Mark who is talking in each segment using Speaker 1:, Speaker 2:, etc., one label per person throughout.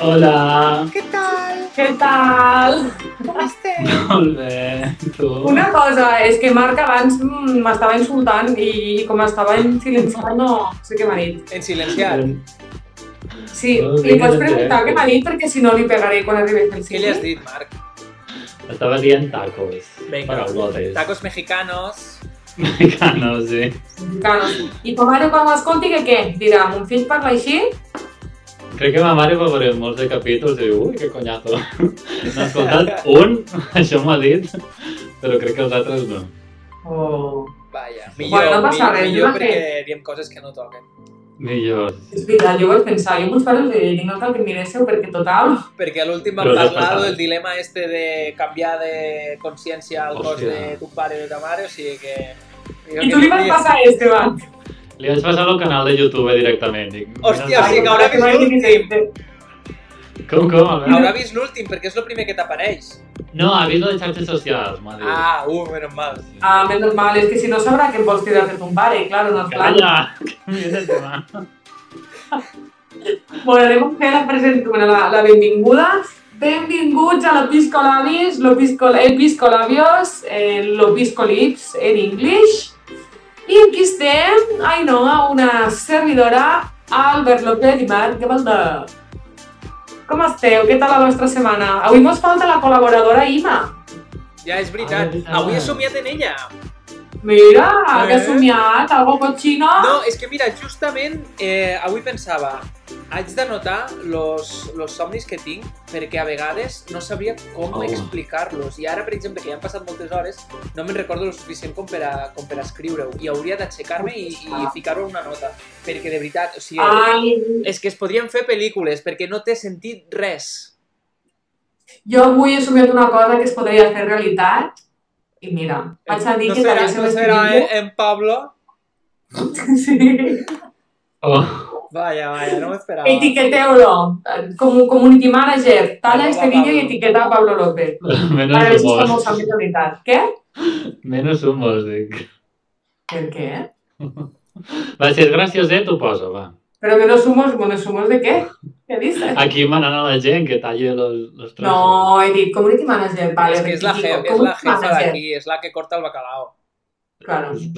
Speaker 1: Hola.
Speaker 2: Què tal?
Speaker 3: Què tal?
Speaker 2: Com
Speaker 1: Ah.
Speaker 2: estem?
Speaker 1: Molt bé. Tu?
Speaker 3: Una cosa, és que Marc abans mm, m'estava insultant i com estava en silenciat no sé què m'ha dit.
Speaker 4: En silenciar.
Speaker 3: Sí,
Speaker 1: No,
Speaker 3: li
Speaker 1: vinga,
Speaker 3: pots
Speaker 1: doncs,
Speaker 3: preguntar
Speaker 1: eh?
Speaker 3: què m'ha dit perquè si no li pegaré quan arribi al
Speaker 4: Què li has
Speaker 3: cine.
Speaker 4: dit, Marc?
Speaker 1: Estava dient tacos.
Speaker 4: Vinga.
Speaker 1: Paraulotes.
Speaker 4: Tacos mexicanos.
Speaker 1: Mexicano, sí.
Speaker 3: Claro. I com ara quan l'escolti que què? Dirà, mon fill parla així?
Speaker 1: Crec que ma mare va veure molts de capítols i diu, ui, que conyazo. N'ha escoltat un, això m'ha dit, però crec que els altres no.
Speaker 3: Oh.
Speaker 4: Vaja,
Speaker 3: Bueno,
Speaker 4: millor,
Speaker 3: no passa
Speaker 4: mi-
Speaker 3: res,
Speaker 4: millor
Speaker 3: no
Speaker 4: perquè
Speaker 3: sé.
Speaker 4: diem coses que no toquen.
Speaker 1: Millor.
Speaker 3: És veritat, jo vaig pensar, jo molts pares li dic, no cal que miréssiu perquè total...
Speaker 4: Perquè a l'últim vam
Speaker 1: Però ja
Speaker 4: parlar
Speaker 1: faltava.
Speaker 4: del dilema este de canviar de consciència al cos
Speaker 1: Hòstia.
Speaker 4: de tu pare i de ta mare, o sigui que...
Speaker 3: I tu li vas passar este, va.
Speaker 1: Li vaig passar al canal de YouTube directament. Dic,
Speaker 4: Hòstia,
Speaker 1: mira,
Speaker 4: o sigui que haurà vist l'últim.
Speaker 1: Com, com? Albert?
Speaker 4: Haurà vist l'últim, perquè és el primer que t'apareix.
Speaker 1: No, ha vist les xarxes socials, m'ha dit.
Speaker 4: Ah, uh, menos mal.
Speaker 3: Ah, més normal, és que si no sabrà que em vols tirar de ton pare, claro, no és clar.
Speaker 1: Calla! Mira el tema.
Speaker 3: Bueno, anem a fer la, present... bueno, la, la benvinguda. Benvinguts a la Piscolabis, lo piscol... el Piscolabios, eh, lo Piscolips en English. I aquí estem, ai no, una servidora, Albert López i Marc Gavaldà. Com esteu? Què tal la vostra setmana? Avui mos falta la col·laboradora Ima.
Speaker 4: Ja és veritat.
Speaker 1: Ah,
Speaker 4: Avui he
Speaker 1: ah.
Speaker 4: somiat en ella.
Speaker 3: Mira,
Speaker 4: Eh?
Speaker 3: que ha somiat, algo cochino.
Speaker 4: No, és que mira, justament eh, avui pensava haig d'anotar los, los somnis que tinc perquè a vegades no sabria com
Speaker 1: Oh.
Speaker 4: explicar-los i ara, per exemple, que ja han passat moltes hores no me'n recordo el suficient com per, a, com per a escriure-ho i hauria d'aixecar-me i, i ficar-ho en una nota perquè de veritat, o sigui,
Speaker 3: Ai,
Speaker 4: és que es podrien fer pel·lícules perquè no té sentit res
Speaker 3: Jo avui he somiat una cosa que es podria fer realitat i mira, vaig a dir
Speaker 4: no
Speaker 3: que
Speaker 4: serà,
Speaker 3: se
Speaker 4: no serà eh? en, en Pablo?
Speaker 3: Sí.
Speaker 1: Oh,
Speaker 4: Vaya, vaya, no m'esperava.
Speaker 3: Etiqueteu-lo. eh, Com un community manager, talla
Speaker 4: Arroba
Speaker 3: este vídeo i
Speaker 4: Pablo.
Speaker 3: etiqueta a Pablo López. Ara
Speaker 1: menos
Speaker 3: veus com ho
Speaker 1: humos.
Speaker 3: sap de realitat. Què?
Speaker 1: Menos humos, dic.
Speaker 3: Per què?
Speaker 1: Va ser gracioset, ho posa, va.
Speaker 3: Però que no sumos, bueno, sumos de què? Què dices?
Speaker 1: Aquí manant a la gent que talli los, los trossos.
Speaker 3: No, he dit community manager, vale.
Speaker 4: És que és la,
Speaker 3: digo,
Speaker 4: jef, és la
Speaker 3: community
Speaker 4: jefa
Speaker 3: manager.
Speaker 4: d'aquí, és la que corta el bacalao.
Speaker 3: Claro.
Speaker 1: Sí.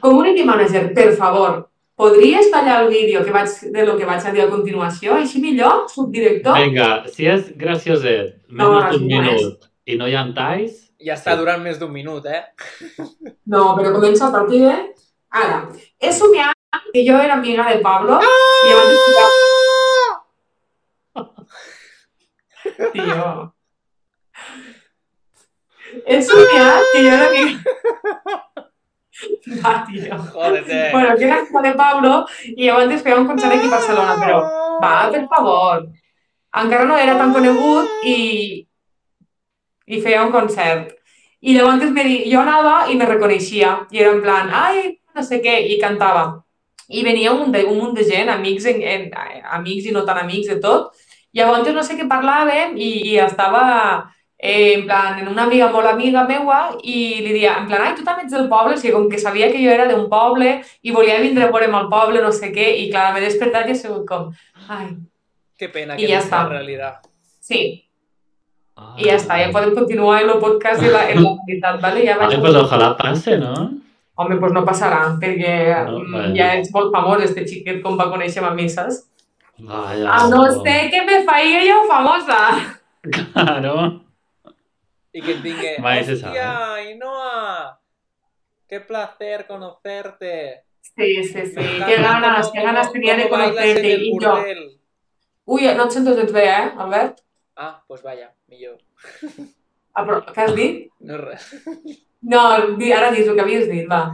Speaker 3: Community manager, per favor, podries tallar el vídeo que vaig, de lo que vaig a dir a continuació? Així millor, subdirector?
Speaker 1: Vinga, si és gracioset,
Speaker 3: No,
Speaker 1: menys d'un
Speaker 3: no és.
Speaker 1: minut, i no hi ha talls,
Speaker 4: Ja està durant més d'un minut, eh?
Speaker 3: No, pero comienza a partir de... Ahora, eso me hace que yo era amiga de Pablo y antes Tío. Eso me hace que yo era amiga... Va, Ah, tío.
Speaker 4: Jódete.
Speaker 3: Bueno, que era amiga de Pablo y yo antes feia un concert aquí a Barcelona, però... Va, per favor. Encara no era tan conegut i, i feia un concert. I llavors me di... jo anava i me reconeixia. I era en plan, ai, no sé què, i cantava. I venia un, de, un munt de gent, amics, en, en, amics i no tan amics de tot. Llavors no sé què parlàvem i, i estava eh, en plan, en una amiga molt amiga meua i li dia, en plan, ai, tu també ets del poble? O sigui, com que sabia que jo era d'un poble i volia vindre a veure'm al poble, no sé què, i clar, m'he despertat i he sigut com, ai,
Speaker 4: Que pena
Speaker 3: I
Speaker 4: que
Speaker 3: ja
Speaker 4: no
Speaker 3: està.
Speaker 4: en realitat.
Speaker 3: sí,
Speaker 1: Ah.
Speaker 3: i ja està, ja podem continuar el podcast i la, en la realitat, vale? Ja vaig...
Speaker 1: Vale, pues ojalá pase, no?
Speaker 3: Home, doncs pues no passarà, perquè
Speaker 1: No,
Speaker 3: mm,
Speaker 1: bueno.
Speaker 3: ja és molt famós este xiquet com va conèixer a misses.
Speaker 1: Vaya.
Speaker 3: A Ah, no este. ser que me faig jo famosa.
Speaker 1: Claro.
Speaker 4: I que et vingui,
Speaker 1: Mai se
Speaker 4: hòstia, Ainhoa, qué placer conocerte.
Speaker 3: Sí, sí, sí.
Speaker 4: Me
Speaker 3: Qué
Speaker 4: encanta
Speaker 3: ganas,
Speaker 4: cómo-
Speaker 3: qué ganas
Speaker 4: cómo-
Speaker 3: tenía de
Speaker 4: cómo bailas
Speaker 3: conocerte.
Speaker 4: en el
Speaker 3: I jo,
Speaker 4: burdel.
Speaker 3: ui, no et sento gens bé, eh, Albert?
Speaker 4: Ah, pues vaya, millor.
Speaker 3: Ah, però, què has dit?
Speaker 4: No és res,
Speaker 3: No, di, ara dis el que havies dit, va.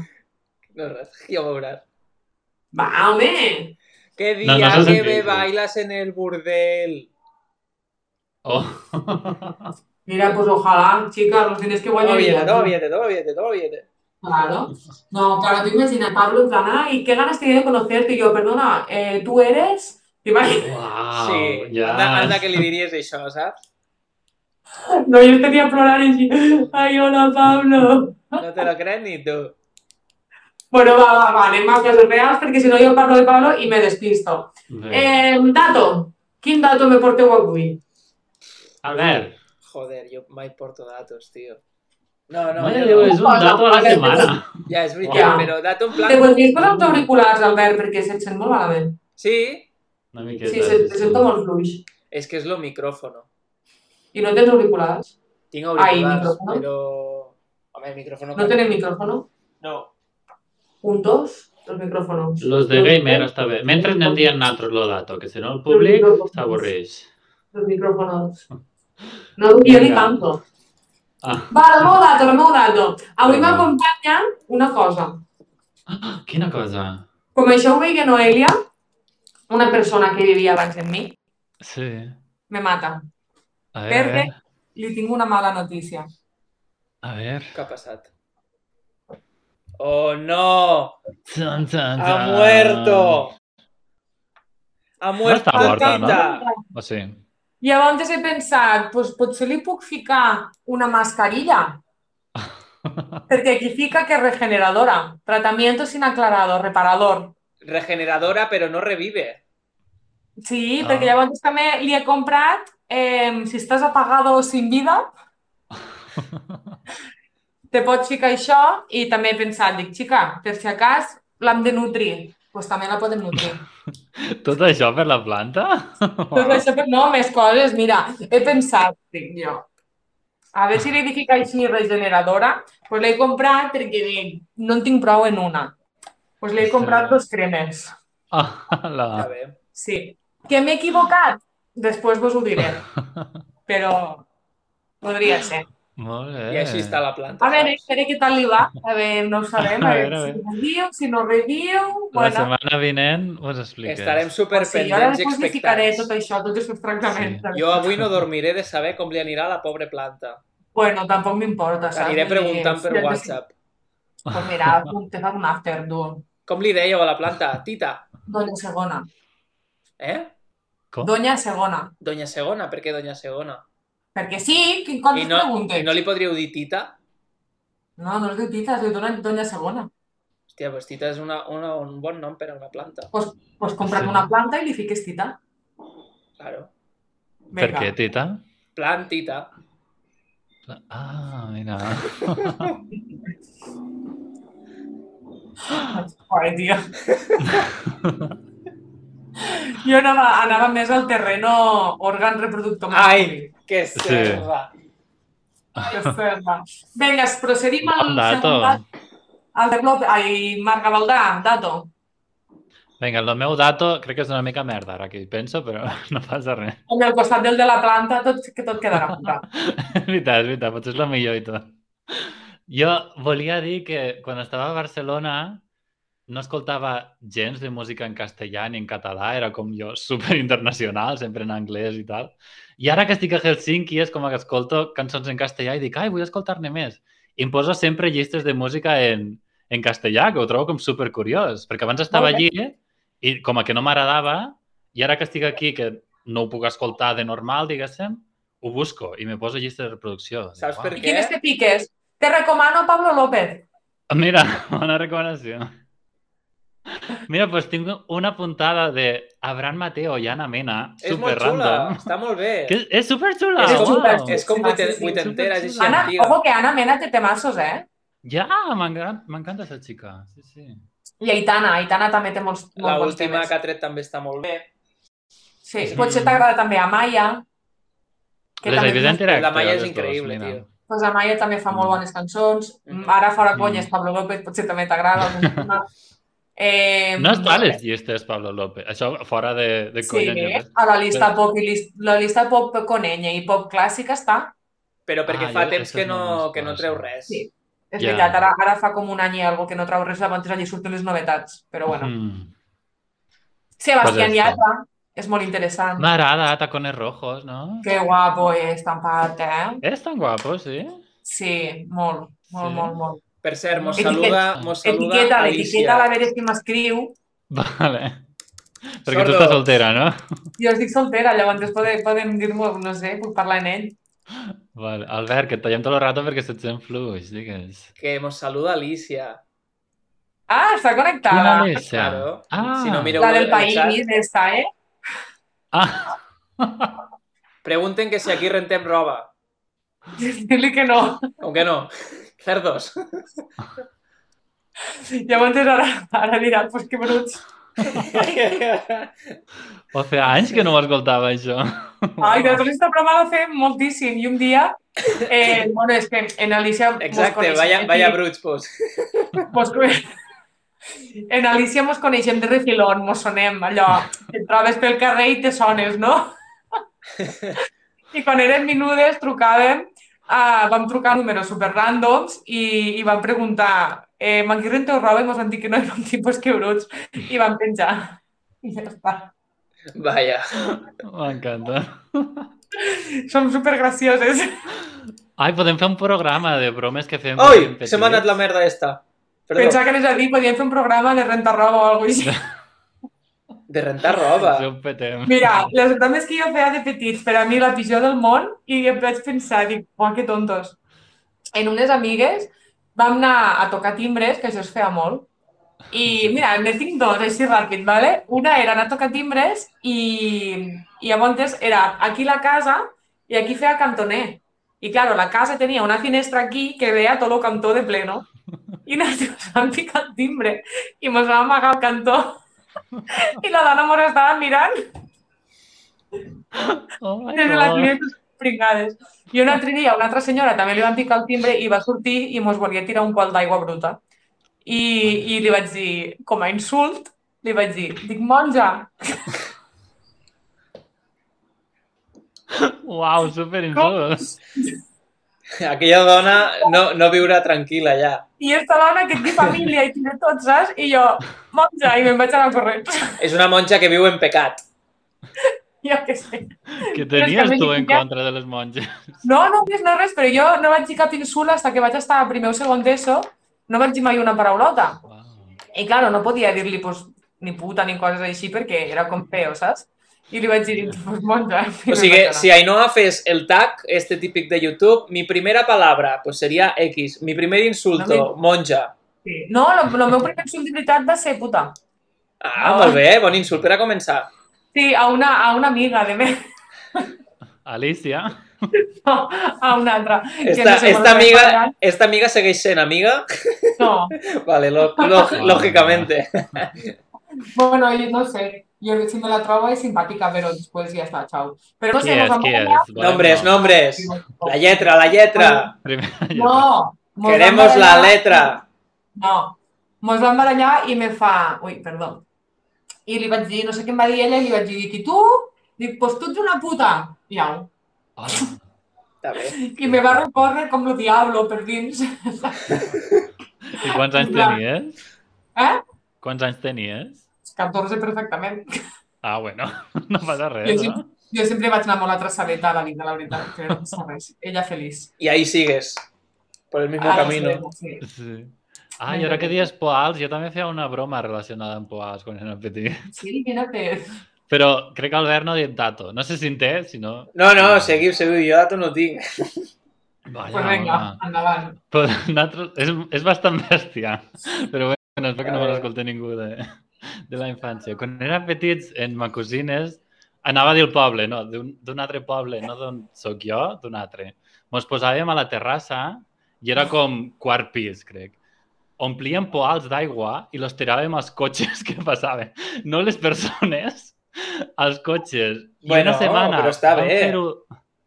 Speaker 4: no és res, ja ho veuràs.
Speaker 3: Va, home!
Speaker 4: Qué
Speaker 1: No,
Speaker 4: día
Speaker 1: no se
Speaker 4: que
Speaker 1: sentit,
Speaker 4: me
Speaker 1: no.
Speaker 4: bailas en el burdel.
Speaker 1: Oh.
Speaker 3: Mira, pues ojalá, chica, los tienes que guanyar.
Speaker 4: Tóbiete,
Speaker 3: ja.
Speaker 4: tóbiete, tóbiete, tóbiete.
Speaker 3: Claro. No, claro, tú imagina, Pablo, en plan, ay, qué ganas tenía de conocerte. Y yo, perdona, eh, ¿tú eres? ¿Te imaginas?
Speaker 1: Wow.
Speaker 4: Sí,
Speaker 1: Ja.
Speaker 4: anda, anda que li diries això, saps?
Speaker 3: No, yo tenía florar y sí, ay, hola, Pablo.
Speaker 4: No te lo crees ni tu.
Speaker 3: Bueno, va, va, va, anem a coses reals, perquè si no jo parlo de Pablo i me despisto.
Speaker 1: Bé.
Speaker 3: Eh, dato, Quin dato me porteu avui?
Speaker 1: Albert,
Speaker 4: Joder, jo mai porto datos, tio. No, no,
Speaker 1: vaya
Speaker 4: ja,
Speaker 1: Déu,
Speaker 4: no.
Speaker 1: és un dato a la
Speaker 4: Albert,
Speaker 1: setmana.
Speaker 4: ja és veritat,
Speaker 3: Uau.
Speaker 4: però dato en
Speaker 3: Te
Speaker 4: plan...
Speaker 3: podries posar uns auriculars, Albert, perquè se't sent molt malament.
Speaker 4: Sí,
Speaker 1: Una
Speaker 3: Sí,
Speaker 1: miqueta.
Speaker 3: sí, se, te sento molt fluix.
Speaker 4: és que és lo micrófono.
Speaker 3: I no tens auriculars?
Speaker 4: Tinc
Speaker 3: Ai,
Speaker 4: auriculars,
Speaker 3: micrófono.
Speaker 4: però... Home, el micrófono...
Speaker 3: No tenen micrófono?
Speaker 4: No.
Speaker 3: Juntos, los micrófonos.
Speaker 1: Los de gamer està bé. Mentre anem dient nosaltres lo dato, que si no el públic s'avorreix.
Speaker 3: Los micrófonos. No, jo ni
Speaker 1: Vinga.
Speaker 3: canto.
Speaker 1: Ah.
Speaker 3: Va, el meu dato, el meu dato. Avui m'acompanya una cosa.
Speaker 1: Quina cosa?
Speaker 3: Com això ho veia Noelia, una persona que vivia abans amb mi,
Speaker 1: Sí.
Speaker 3: me mata.
Speaker 1: A
Speaker 3: Verde. Li tinc una mala notícia.
Speaker 1: a veure.
Speaker 4: Què ha passat? Oh, no!
Speaker 1: Tan, tan,
Speaker 4: Ha muerto! Ha muerto
Speaker 1: està morta,
Speaker 4: Tita.
Speaker 1: O sigui,
Speaker 3: Llavors he pensat, doncs potser li puc ficar una mascarilla, perquè aquí fica que és regeneradora. Tratamiento sin aclarado, reparador.
Speaker 4: Regeneradora, pero no revive.
Speaker 3: Sí,
Speaker 1: Ah.
Speaker 3: perquè llavors també li he comprat eh, si estàs apagado o sin vida, te pots ficar això i també he pensat, dic, xica, per si acas l'hem de nutrir, doncs pues també la podem nutrir.
Speaker 1: Tot això per la planta?
Speaker 3: Tot això, però no, més coses, mira, he pensat, dic jo, a veure si li dic així regeneradora, doncs pues l'he comprat perquè dic, no en tinc prou en una. Doncs pues l'he comprat dos cremes,
Speaker 1: Ah, la...
Speaker 4: Ja ve.
Speaker 3: sí. Que m'he equivocat? Després vos ho diré, però podria ser.
Speaker 1: Molt bé.
Speaker 4: I així està la planta.
Speaker 3: A veure, espera què tal li va, a veure, no ho sabem, a
Speaker 1: A
Speaker 3: veure,
Speaker 1: veure, a
Speaker 3: si reviu, si no reviu,
Speaker 1: La
Speaker 3: bueno.
Speaker 1: setmana vinent us expliques.
Speaker 4: Estarem
Speaker 3: Pues Sí, jo ara
Speaker 4: superpendents i
Speaker 3: després li ficaré tot
Speaker 4: expectants.
Speaker 3: això, tots els seus tractaments. Sí.
Speaker 4: Jo avui no dormiré de saber com li anirà a la pobra planta.
Speaker 3: Bueno, tampoc m'importa, saps?
Speaker 4: T'aniré
Speaker 3: Vull dir,
Speaker 4: preguntant per
Speaker 3: si has de-
Speaker 4: WhatsApp.
Speaker 3: Pues mira, te fa un after duo.
Speaker 4: Com li dèieu a la planta? Tita,
Speaker 3: Doña Segona.
Speaker 4: eh?
Speaker 3: Doña Segona.
Speaker 4: Doña Segona, per què Doña Segona?
Speaker 3: Perquè sí, que quan
Speaker 4: I
Speaker 3: no,
Speaker 4: no,
Speaker 3: preguntes.
Speaker 4: i no li podríeu dir Tita?
Speaker 3: no, no es diu Tita, es diu Doña, Doña Segona.
Speaker 4: Hòstia, pues Tita és una, una, un bon nom per a una planta.
Speaker 3: Pues compra't
Speaker 1: Sí.
Speaker 3: una planta i li fiques Tita.
Speaker 4: Claro.
Speaker 1: Per
Speaker 3: Vinga.
Speaker 1: què, Tita?
Speaker 4: Plantita.
Speaker 1: Ah, mira.
Speaker 3: Doncs, Joder, tio. jo anava, anava més al terreno òrgan reproductor.
Speaker 4: Ai, que serra!
Speaker 3: Ferma. Vinga, es procedim al
Speaker 1: Bon dato.
Speaker 3: segon dat. Al de Glop... Ai, Marc Gavaldà, dato.
Speaker 1: Vinga, el meu dato crec que és una mica merda, ara que hi penso, però no passa res.
Speaker 3: Amb el costat del de la planta, tot, que tot quedarà apuntat.
Speaker 1: És veritat, és veritat, potser és la millor i tot. Jo volia dir que quan estava a Barcelona no escoltava gens de música en castellà ni en català, era com jo, super internacional, sempre en anglès i tal. I ara que estic a Helsinki és com que escolto cançons en castellà i dic, ai, vull escoltar-ne més. I em poso sempre llistes de música en, en castellà, que ho trobo com super curiós, perquè abans estava
Speaker 3: Molt
Speaker 1: allí i com a que no m'agradava, i ara que estic aquí, que no ho puc escoltar de normal, diguéssim, ho busco i me poso llista de reproducció. Dic,
Speaker 4: Saps per
Speaker 3: I
Speaker 4: Què?
Speaker 3: quines te piques? Te recomano Pablo López.
Speaker 1: Mira, bona recomanació. Mira, doncs tinc una puntada de Abraham Mateo i Ana Mena,
Speaker 4: És molt
Speaker 1: super
Speaker 4: xula,
Speaker 1: random.
Speaker 4: està molt bé.
Speaker 1: Que és, és super xula.
Speaker 4: És com,
Speaker 3: Wow.
Speaker 4: és com vuiten,
Speaker 3: Sí, sí, sí,
Speaker 4: vuitentera, és així
Speaker 1: superxula.
Speaker 3: Ana,
Speaker 4: antiga.
Speaker 3: ojo que Ana Mena té temassos, eh?
Speaker 1: Ja, m'engan- m'encanta aquesta xica. Sí, sí.
Speaker 3: I Aitana, Aitana també té molts, molts
Speaker 4: La
Speaker 3: bons
Speaker 4: última
Speaker 3: temes.
Speaker 4: que ha tret també està molt bé.
Speaker 3: Sí,
Speaker 1: Mm.
Speaker 3: potser t'agrada també Amaya. Que
Speaker 1: Les
Speaker 3: també,
Speaker 1: he vist en directe.
Speaker 4: La Maya és
Speaker 1: les dues,
Speaker 4: increïble,
Speaker 1: mira.
Speaker 4: tio.
Speaker 3: Pues Amaya Doncs també fa molt
Speaker 1: Mm.
Speaker 3: bones cançons.
Speaker 4: Mm.
Speaker 3: Ara fora
Speaker 1: Mm.
Speaker 3: colles, Pablo López, potser també t'agrada. algun tema. Eh,
Speaker 4: Em
Speaker 1: No està a les llistes, Pablo López. Això fora de, de
Speaker 3: Sí,
Speaker 1: colla. ni res.
Speaker 3: a la lista pop i lis- la lista pop con ella i pop clàssica està.
Speaker 4: Però perquè
Speaker 1: Ah,
Speaker 4: fa
Speaker 1: jo-
Speaker 4: temps
Speaker 1: això
Speaker 4: que
Speaker 1: no
Speaker 4: no,
Speaker 1: ho
Speaker 4: que no
Speaker 1: coneixo.
Speaker 4: treu res.
Speaker 3: Sí. És
Speaker 1: Ja.
Speaker 3: veritat, ara, ara fa com un any i algo que no trau res, abans allí surten les novetats, però bueno.
Speaker 1: Mm.
Speaker 3: Sebastián
Speaker 1: Pues ja està.
Speaker 3: Yatra és molt interessant.
Speaker 1: M'agrada, tacones rojos, no?
Speaker 3: Que guapo és tampat, eh?
Speaker 1: És tan guapo, sí?
Speaker 3: Sí, molt, molt,
Speaker 1: Sí.
Speaker 3: molt, molt.
Speaker 4: Per cert, mos
Speaker 3: Etiqueta-
Speaker 4: saluda, mos saluda
Speaker 3: Etiqueta, etiqueta a
Speaker 4: Alicia.
Speaker 3: veure si m'escriu.
Speaker 1: Vale. Perquè
Speaker 4: Sordo.
Speaker 1: tu estàs soltera, no?
Speaker 3: Jo estic soltera, llavors poden, poden dir-m'ho, no sé, puc parlar en ell.
Speaker 1: Vale. Albert, que et tallem tot el rato perquè se't sent fluix, digues.
Speaker 4: Que mos saluda Alicia.
Speaker 3: Ah, està
Speaker 1: Quina
Speaker 3: connectada.
Speaker 1: Alicia?
Speaker 4: Claro.
Speaker 1: Ah,
Speaker 4: Si no, mira-
Speaker 3: La del
Speaker 4: El chat.
Speaker 3: país, esta, eh?
Speaker 1: ah,
Speaker 4: Pregunten que si aquí rentem roba.
Speaker 3: Dir-li que no.
Speaker 4: Com que no? Cerdos.
Speaker 3: Llavors ara, ara dirà, pues que bruts.
Speaker 1: O fa anys que no ho escoltava, això.
Speaker 3: Ai, que després esta broma la fem moltíssim. I un dia, eh, bueno, és que en Alicia... pues, mos
Speaker 4: Exacte,
Speaker 3: coneixem
Speaker 4: vaya,
Speaker 3: i-
Speaker 4: vaya bruts, pues.
Speaker 3: Mos... En Alicia mos coneixem de refilón, mos sonem, allò, et trobes pel carrer i te sones, no? I quan érem minudes trucàvem, uh, vam trucar números super randoms i, i vam preguntar eh, «Man qui renteu roba?» i mos van dir que no, i vam dir «Pues que bruts» i vam penjar. I ja està.
Speaker 4: Vaya.
Speaker 1: M'encanta.
Speaker 3: Som supergracioses.
Speaker 1: Ai, podem fer un programa de bromes que fem... quan érem
Speaker 4: Oi,
Speaker 1: petits.
Speaker 4: se m'ha anat la merda esta. Perdó,
Speaker 3: Pensava que anés a dir, podíem fer un programa de rentar roba o alguna cosa així.
Speaker 4: de rentar roba.
Speaker 1: Això ho petem.
Speaker 3: Mira, les bromes que jo feia de petits, per a mi la pitjor del món, i em vaig pensar, dic, buah, que tontos. En unes amigues vam anar a tocar timbres, que això es feia molt, i mira, ne tinc dos, així ràpid, ¿vale? Una era anar a tocar timbres i, i llavors era aquí la casa i aquí feia cantoner. I claro, la casa tenia una finestra aquí que veia tot el cantó de pleno. I nosaltres vam picar el timbre i mos vam amagar al cantó. I la dona mos estava mirant
Speaker 1: Oh my
Speaker 3: des de les
Speaker 1: God.
Speaker 3: mires pringades. I un altre dia, una altra senyora també li van picar el timbre i va sortir i mos volia tirar un qual d'aigua bruta. I, I li vaig dir, com a insult, li vaig dir, dic, monja,
Speaker 1: Uau, superinsult.
Speaker 4: Aquella dona no, no viurà tranquil·la ja.
Speaker 3: i esta dona que té família i té tot, saps? I jo, monja, i me'n vaig anar corrents.
Speaker 4: És una monja que viu en pecat.
Speaker 3: Jo què sé.
Speaker 1: Què
Speaker 3: Però és
Speaker 1: tenies
Speaker 3: que
Speaker 1: tu en
Speaker 3: ja-
Speaker 1: contra de les monges?
Speaker 3: No, no vull no res, però jo no vaig dir cap insult fins que vaig estar a primer o segon d'ESO, no vaig dir mai una paraulota.
Speaker 1: Uau.
Speaker 3: I claro, no podia dir-li pues, ni puta ni coses així perquè era com feo, saps? I li vaig dir, pues monja.
Speaker 4: O sigui, si Ainhoa fes el tag, este típic de YouTube, mi primera palabra, pues seria X. Mi primer insulto, monja.
Speaker 3: No, el, el meu primer insult de veritat va ser puta.
Speaker 4: Ah, molt bé, bon insult per a començar.
Speaker 3: Sí, a una, a una amiga de me...
Speaker 1: Alicia?
Speaker 3: No, a una altra. que
Speaker 4: Esta,
Speaker 3: no sé
Speaker 4: esta,
Speaker 3: com es
Speaker 4: amiga,
Speaker 3: parlarà.
Speaker 4: esta amiga segueix sent amiga?
Speaker 3: No,
Speaker 4: Vale, lo, lo, lógicamente.
Speaker 3: bueno, jo no sé. Jo si me la trobo és simpàtica, però després ja està, xau. Però no
Speaker 1: Qui
Speaker 3: sé,
Speaker 1: és?
Speaker 3: mos
Speaker 1: Qui
Speaker 3: van
Speaker 1: és?
Speaker 4: Nombres, nombres. La lletra, la lletra.
Speaker 1: Primer,
Speaker 3: No, mos van
Speaker 4: Queremos la
Speaker 3: barallar-
Speaker 4: letra.
Speaker 3: No, mos vam barallar i me fa... Ui, perdó. I li vaig dir, no sé què em va dir ella, i li vaig dir, dic, i tu? Dic, pues tu ets una puta. Iau.
Speaker 1: Hola.
Speaker 4: Està bé.
Speaker 3: I me va recórrer com el diablo per dins.
Speaker 1: I quants anys
Speaker 3: Clar.
Speaker 1: tenies?
Speaker 3: Eh?
Speaker 1: Quants anys tenies?
Speaker 3: 14 perfectament.
Speaker 1: Ah, bueno, no passa
Speaker 3: Jo
Speaker 1: res,
Speaker 3: sí.
Speaker 1: no?
Speaker 3: Jo sempre vaig anar molt atrasadeta a la vida, la veritat, que no passa res. Ella feliç.
Speaker 4: I ahí sigues. Por el mismo
Speaker 3: Ara
Speaker 4: camino.
Speaker 3: sí.
Speaker 1: Sí. Ah, i ara que dies poals, jo també feia una broma relacionada amb poals quan era petit.
Speaker 3: Sí, mira-te.
Speaker 1: Però crec que Albert no ha dit dato. No sé si en té, si no...
Speaker 4: No, no, seguiu, seguiu. Jo dato no tinc.
Speaker 1: Vaja,
Speaker 3: Pues vinga,
Speaker 1: home.
Speaker 3: endavant.
Speaker 1: Però nosaltres... És, és bastant bèstia. Però bé, bueno, espero que no
Speaker 4: A
Speaker 1: me
Speaker 4: veure.
Speaker 1: l'escolta ningú de, de la infància. Quan érem petits, en ma cosines, anava a dir el poble, no, d'un d'un altre poble, no d'on sóc jo, d'un altre. Mos posàvem a la terrassa i era com quart pis, crec. Omplíem poals d'aigua i los tiràvem als cotxes que passaven. No les persones, als cotxes. I
Speaker 4: Bueno,
Speaker 1: una setmana
Speaker 4: però està
Speaker 1: vam
Speaker 4: bé.
Speaker 1: fer-ho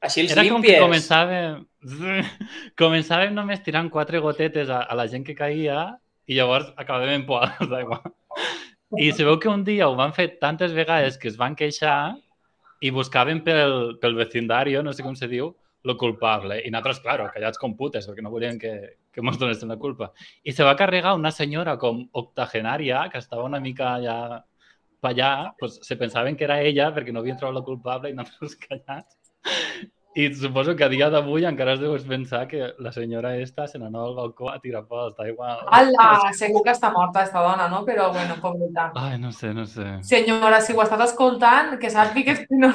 Speaker 4: Així els
Speaker 1: era com que
Speaker 4: limpies.
Speaker 1: començàvem... començàvem només tirant quatre gotetes a, a la gent que caia i llavors acabàvem en poals d'aigua. I se veu que un dia ho van fer tantes vegades que es van queixar i buscaven pel, pel vecindari, no sé com se diu, lo culpable. I nosaltres, claro, callats com putes, perquè no volien que, que mos donessin la culpa. I se va carregar una senyora com octogenària, que estava una mica ja pa allà, pues, se pensaven que era ella perquè no havien trobat la culpable i nosaltres callats. I suposo que a dia d'avui encara has de pensar que la senyora esta se n'anava al balcó a tirar pols d'aigua.
Speaker 3: Ala, segur que està morta esta dona, no? Però, bueno, pobreta.
Speaker 1: Ai, no sé, no sé.
Speaker 3: Senyora, si ho estàs escoltant, que sàpigues que no,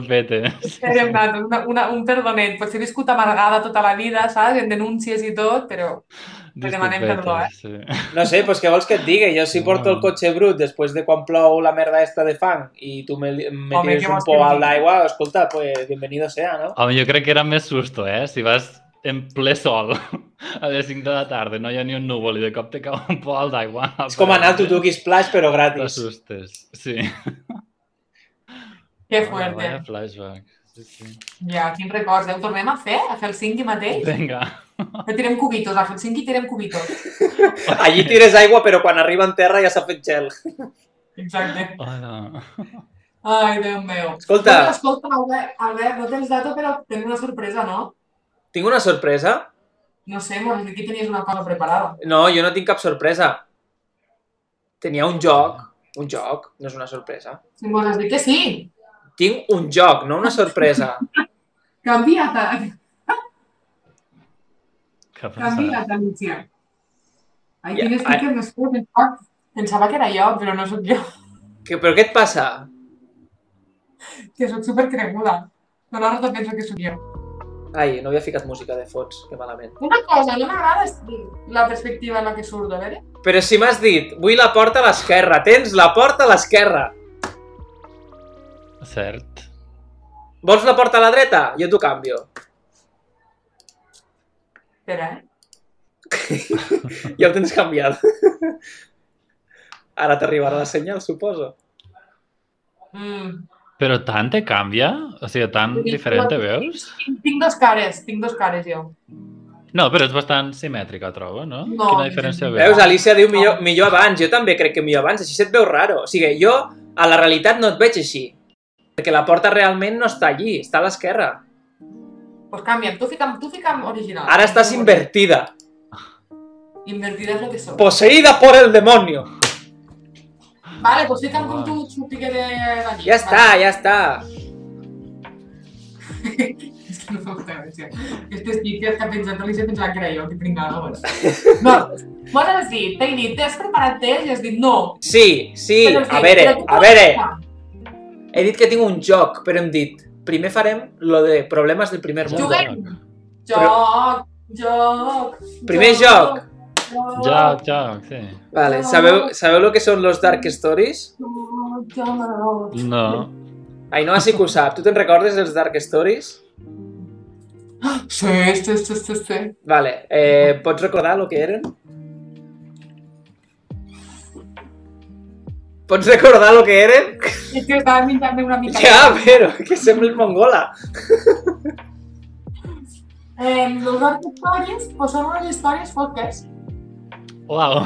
Speaker 1: Disculpetes.
Speaker 3: Era una, una, una, un perdonet. Potser he viscut amargada tota la vida, saps? En denúncies i tot, però... Te demanem perdó, eh?
Speaker 1: Sí.
Speaker 4: No sé, pues què vols que et digui? Jo si porto el cotxe brut després de quan plou la merda esta de fang i tu me, me
Speaker 3: Home,
Speaker 4: tires
Speaker 3: què
Speaker 4: un
Speaker 3: vols que
Speaker 4: po
Speaker 3: et
Speaker 4: a
Speaker 3: digui?
Speaker 4: l'aigua, escolta, pues bienvenido sea, no?
Speaker 1: Home, jo crec que era més susto, eh? Si vas en ple sol a les 5 de la tarda, no hi ha ni un núvol i de cop te cau un poal d'aigua.
Speaker 4: És com anar al Tutuki Splash, però gratis.
Speaker 1: T'assustes, sí.
Speaker 3: Que
Speaker 1: Ah,
Speaker 3: fuerte.
Speaker 1: vaya flashback. Sí, sí.
Speaker 3: Ja, quins records. Eh? Ho tornem a fer? A Helsinki mateix?
Speaker 1: Vinga.
Speaker 3: Que tirem cubitos, a Helsinki tirem cubitos.
Speaker 4: Allí tires aigua, però quan arriba en terra ja s'ha fet gel.
Speaker 3: Exacte.
Speaker 1: Hola.
Speaker 3: Ai, Déu meu.
Speaker 4: Escolta.
Speaker 3: Bueno, escolta, Albert, Albert, no tens data, però tenim una sorpresa, no?
Speaker 4: Tinc una sorpresa?
Speaker 3: No sé, m'ho has dit que tenies una cosa preparada.
Speaker 4: No, jo no tinc cap sorpresa. Tenia un joc, un joc, no és una sorpresa.
Speaker 3: Si m'ho has dit que sí,
Speaker 4: Tinc un joc, no una sorpresa.
Speaker 3: canvia't, eh,
Speaker 1: Què ha passat?
Speaker 3: canvia't, Alicia. Ai,
Speaker 4: Ja,
Speaker 3: yeah, quin sticker més fort, més fort. Pensava que era jo, però no sóc jo,
Speaker 4: Que, però què et passa?
Speaker 3: que sóc supercreguda. No, no, no penso que sóc jo.
Speaker 4: Ai, no havia ficat música de fons, que malament.
Speaker 3: Una cosa, no m'agrada la perspectiva en la que surto, a veure?
Speaker 4: Però si m'has dit, vull la porta a l'esquerra, tens la porta a l'esquerra.
Speaker 1: Cert.
Speaker 4: Vols la porta a la dreta? Jo t'ho canvio.
Speaker 3: Espera, eh?
Speaker 4: Ja ho tens canviat. Ara t'arribarà la senyal, suposo.
Speaker 3: Mm.
Speaker 1: Però tant te canvia? O sigui, tan
Speaker 3: Sí,
Speaker 1: diferent te
Speaker 3: però-
Speaker 1: veus?
Speaker 3: Tinc, tinc dos cares, tinc dos cares jo.
Speaker 1: No, però és bastant simètrica, trobo, no?
Speaker 3: No,
Speaker 1: Quina diferència
Speaker 3: no.
Speaker 1: veus?
Speaker 4: Veus, Alicia diu millor, millor abans. Jo també crec que millor abans, així se't veu raro. O sigui, jo a la realitat no et veig així. Perquè la porta realment no està allí, està a l'esquerra.
Speaker 3: Pues canvia'm, tu fica'm, tu fica'm original.
Speaker 4: Ara estàs invertida.
Speaker 3: Invertida és el que soc.
Speaker 4: Poseïda por el demonio.
Speaker 3: Vale, pues fica'm com tu sortigue de d'allí.
Speaker 4: Ja està,
Speaker 3: Ah.
Speaker 4: ja està.
Speaker 3: És que no fa molta gràcia. Este sticker que ha penjat l'Alicia pensava que era jo, que pringada, bueno. No, m'ho has dit, t'he dit, t'has preparat test i has dit no.
Speaker 4: Sí, sí,
Speaker 3: Però has
Speaker 4: a
Speaker 3: dit,
Speaker 4: veure,
Speaker 3: però tu
Speaker 4: a
Speaker 3: pots
Speaker 4: veure.
Speaker 3: ficar.
Speaker 4: He dit que tinc un joc, però hem dit primer farem lo de problemes del primer món.
Speaker 3: Juguem. Joc, joc,
Speaker 4: Primer joc.
Speaker 3: joc,
Speaker 1: Joc, joc, sí.
Speaker 4: Vale, sabeu, sabeu lo que són los Dark Stories?
Speaker 3: joc, joc.
Speaker 1: No.
Speaker 4: Ainhoa sí que ho sap. Tu te'n recordes dels Dark Stories?
Speaker 3: Sí, sí, sí, sí, sí.
Speaker 4: Vale, eh, pots recordar lo que eren? Pots recordar lo que eren?
Speaker 3: És que estava menjant una mica.
Speaker 4: Ja, però que sembla mongola.
Speaker 3: Eh, los dark stories pues, són unes històries foques.
Speaker 1: Uau.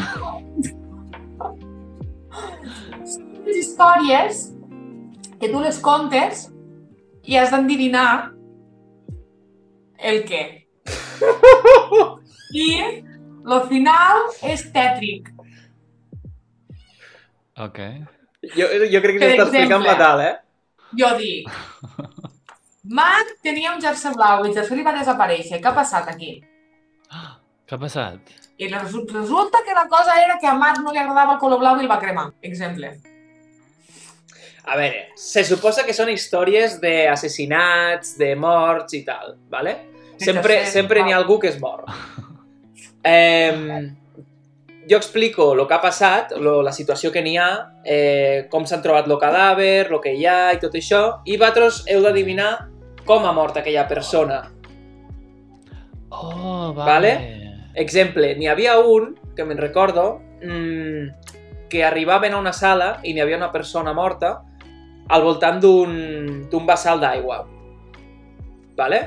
Speaker 3: Unes històries que tu les contes i has d'endevinar el què. I el final és tètric.
Speaker 1: Ok.
Speaker 4: Jo, jo crec que
Speaker 3: Per
Speaker 4: s'està explicant
Speaker 3: exemple.
Speaker 4: fatal, eh?
Speaker 3: Jo dic, Mac tenia un jersei blau i el jersei li va desaparèixer. Què ha passat aquí?
Speaker 1: Què ha passat?
Speaker 3: I resu- resulta que la cosa era que a Marc no li agradava el color blau i el va cremar. Exemple.
Speaker 4: A veure, se suposa que són històries d'assassinats, de morts i tal, ¿vale? Sempre,
Speaker 3: Sense ser,
Speaker 4: sempre n'hi ha
Speaker 3: val.
Speaker 4: algú que es mor. Eh, jo explico el que ha passat, lo, la situació que n'hi ha, eh, com s'han trobat el cadàver, el que hi ha i tot això, i vosaltres heu d'adivinar com ha mort aquella persona.
Speaker 1: Oh, vale.
Speaker 4: Vale. Exemple, n'hi havia un, que me'n recordo, mmm, que arribaven a una sala i n'hi havia una persona morta al voltant d'un d'un vessal d'aigua. Vale?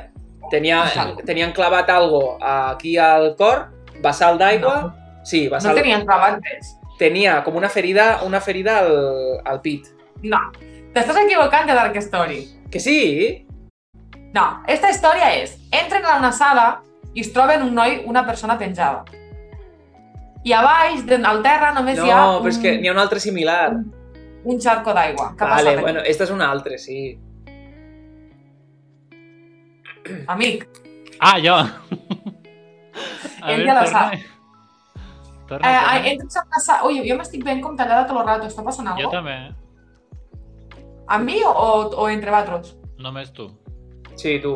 Speaker 4: Tenia,
Speaker 3: Vessal.
Speaker 4: tenien clavat algo aquí al cor, vessal d'aigua...
Speaker 3: No.
Speaker 4: Sí,
Speaker 3: No
Speaker 4: vessal...
Speaker 3: tenien clavat res.
Speaker 4: Tenia com una ferida, una ferida al, al pit.
Speaker 3: No, t'estàs equivocant de Dark Story.
Speaker 4: Que sí?
Speaker 3: No, esta història és, entren a una sala i es troben un noi, una persona penjada. I a baix, de- al terra, només
Speaker 4: No,
Speaker 3: hi ha un,
Speaker 4: però és que n'hi ha un altre similar.
Speaker 3: un xarco d'aigua. Mm. Què ha
Speaker 4: Vale,
Speaker 3: passat
Speaker 4: bueno, esta és una altra, sí.
Speaker 3: aquí? Amic,
Speaker 1: Ah, jo! A
Speaker 3: Ell
Speaker 1: veure,
Speaker 3: ja la
Speaker 1: torna.
Speaker 3: sap.
Speaker 1: Torna,
Speaker 3: eh,
Speaker 1: torna.
Speaker 3: eh, entres a una sala... Ui, jo m'estic veient com tallada tot el rato, està passant
Speaker 1: Jo
Speaker 3: alguna cosa?
Speaker 1: també.
Speaker 3: A mi o, o entre vosaltres?
Speaker 1: Només tu.
Speaker 4: Sí, tu.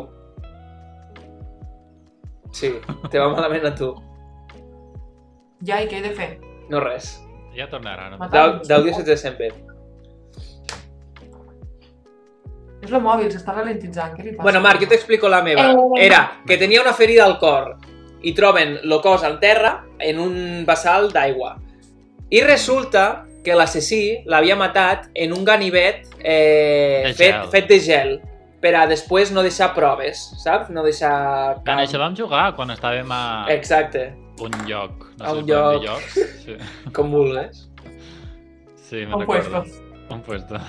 Speaker 4: Sí, te va malament a tu.
Speaker 3: Ja, i què he de fer?
Speaker 4: No res.
Speaker 1: Ja tornarà. No?
Speaker 3: Matar.
Speaker 4: D'au- D'àudio se't ve sempre.
Speaker 3: És el mòbil, s'està ralentitzant. Què li passa?
Speaker 4: Bueno, Marc, jo t'explico la meva.
Speaker 3: Eh.
Speaker 4: Era que tenia una ferida al cor i troben el cos al terra en un vessal d'aigua. I resulta que l'assassí l'havia matat en un ganivet eh,
Speaker 1: De
Speaker 4: fet,
Speaker 1: gel.
Speaker 4: fet de gel per a després no deixar proves, saps? No deixar...
Speaker 1: Quan això vam jugar, quan estàvem a
Speaker 4: Exacte,
Speaker 1: un lloc. No
Speaker 4: a
Speaker 1: sé
Speaker 4: un
Speaker 1: si podem dir
Speaker 4: lloc.
Speaker 1: llocs. Sí,
Speaker 4: com vulguis.
Speaker 1: sí me'n
Speaker 3: Un
Speaker 1: recordo.
Speaker 3: puesto.
Speaker 1: Un puesto.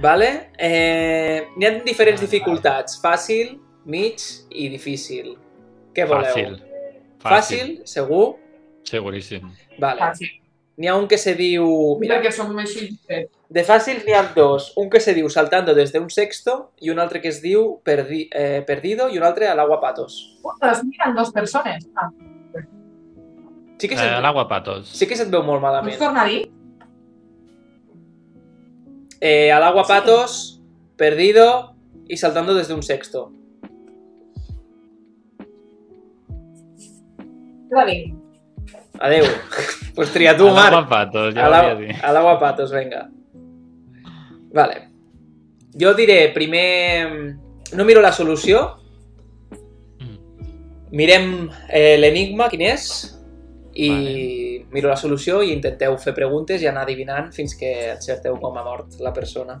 Speaker 4: Vale? Eh, N'hi ha diferents dificultats. Fàcil, mig i difícil. Què voleu?
Speaker 1: Fàcil.
Speaker 4: Fàcil, segur?
Speaker 1: Seguríssim.
Speaker 4: Vale.
Speaker 3: Fàcil.
Speaker 4: N'hi ha un que se diu... Mira,
Speaker 3: Mira que som així. eh?
Speaker 4: De fàcils n'hi ha dos. Un que se diu Saltando des d'un sexto i un altre que es diu perdi, eh, Perdido i un altre a l'Agua Patos.
Speaker 3: Ostres, miren dos persones. Ah,
Speaker 4: Sí que,
Speaker 1: Eh,
Speaker 4: se't,
Speaker 1: L'agua patos.
Speaker 4: sí que se't veu molt
Speaker 3: pots
Speaker 4: malament.
Speaker 3: tornar a dir?
Speaker 4: Eh, a l'Agua Patos, Perdido i Saltando des d'un sexto.
Speaker 3: Què va dir?
Speaker 4: Adeu. pues tria tu, Marc.
Speaker 1: L'agua patos, ja
Speaker 4: A
Speaker 1: ho
Speaker 4: la-
Speaker 1: havia dit.
Speaker 4: A l'Agua Patos, vinga. Vale. Jo diré primer... No miro la solució.
Speaker 1: Mm.
Speaker 4: Mirem eh, l'enigma, quin és, i miro la solució i intenteu fer preguntes i anar adivinant fins que encerteu com ha mort la persona.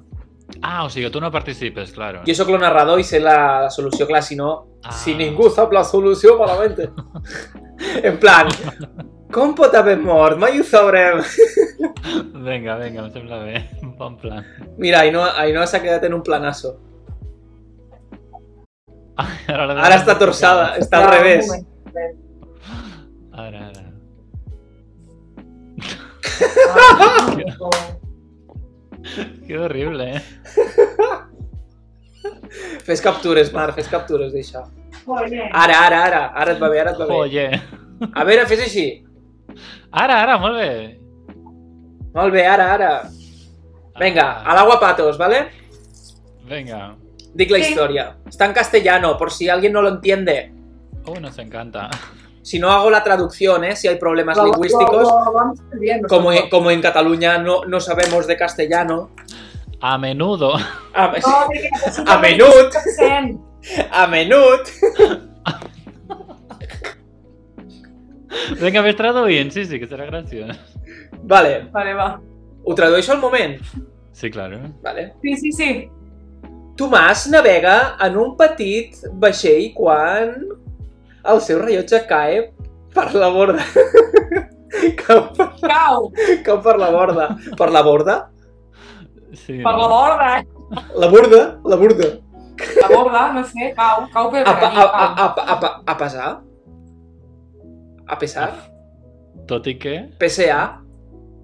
Speaker 1: Ah, o sigui, tu no participes, claro.
Speaker 4: Jo sóc el narrador i sé la, la solució, clar, si no...
Speaker 1: Ah.
Speaker 4: Si ningú sap la solució, malament. en plan, com pot haver mort? Mai ho sabrem.
Speaker 1: Vinga, vinga, em sembla bé. Bon plan.
Speaker 4: Mira, Ainhoa, Ainhoa s'ha quedat en un planazo.
Speaker 1: Ara,
Speaker 4: Ara està torçada, està
Speaker 3: Ja,
Speaker 4: al
Speaker 3: un
Speaker 4: revés.
Speaker 3: moment.
Speaker 1: Ara, ara.
Speaker 3: Ah,
Speaker 1: Que horrible, eh?
Speaker 4: Fes captures, Marc, fes captures d'això.
Speaker 3: joder.
Speaker 4: Ara, ara, ara, ara et va bé, ara et va bé.
Speaker 1: Oye.
Speaker 4: A veure, fes així.
Speaker 1: Ara, ara, molt bé.
Speaker 4: Molt bé, ara, ara. Vinga, a l'agua patos, ¿vale?
Speaker 1: Venga.
Speaker 4: Dic la
Speaker 3: Sí.
Speaker 4: historia. Está en castellano, por si alguien no lo entiende.
Speaker 1: Oh, nos encanta.
Speaker 4: Si no hago la traducción, ¿eh? si hay problemas
Speaker 3: Lo- lo-
Speaker 4: lingüísticos.
Speaker 3: lo vamos perdiendo,
Speaker 4: Como,
Speaker 3: ¿no?
Speaker 4: como en Cataluña no, no sabemos de castellano.
Speaker 1: A menudo.
Speaker 4: A,
Speaker 3: No, de que necesito
Speaker 4: A menut.
Speaker 3: 20%.
Speaker 4: a menut.
Speaker 1: Vinga, vés traduint. Sí, sí, que serà graciós.
Speaker 4: Vale,
Speaker 3: Vale, va.
Speaker 4: ho tradueixo al moment.
Speaker 1: Sí, claro.
Speaker 4: Vale.
Speaker 3: Sí, sí, sí.
Speaker 4: Tomàs navega en un petit vaixell quan el seu rellotge cae per la borda. cau, per-
Speaker 3: Cau,
Speaker 4: cau per la borda. Per la borda?
Speaker 1: Sí,
Speaker 3: per la
Speaker 1: no.
Speaker 3: borda, eh?
Speaker 4: La borda? La borda.
Speaker 3: La borda, no sé, cau, cau per
Speaker 4: A, Ah, pa,
Speaker 3: allí,
Speaker 4: a, a,
Speaker 3: cau.
Speaker 4: a, a, pa- a pesar? A pesar?
Speaker 1: Tot i que...
Speaker 4: PCA?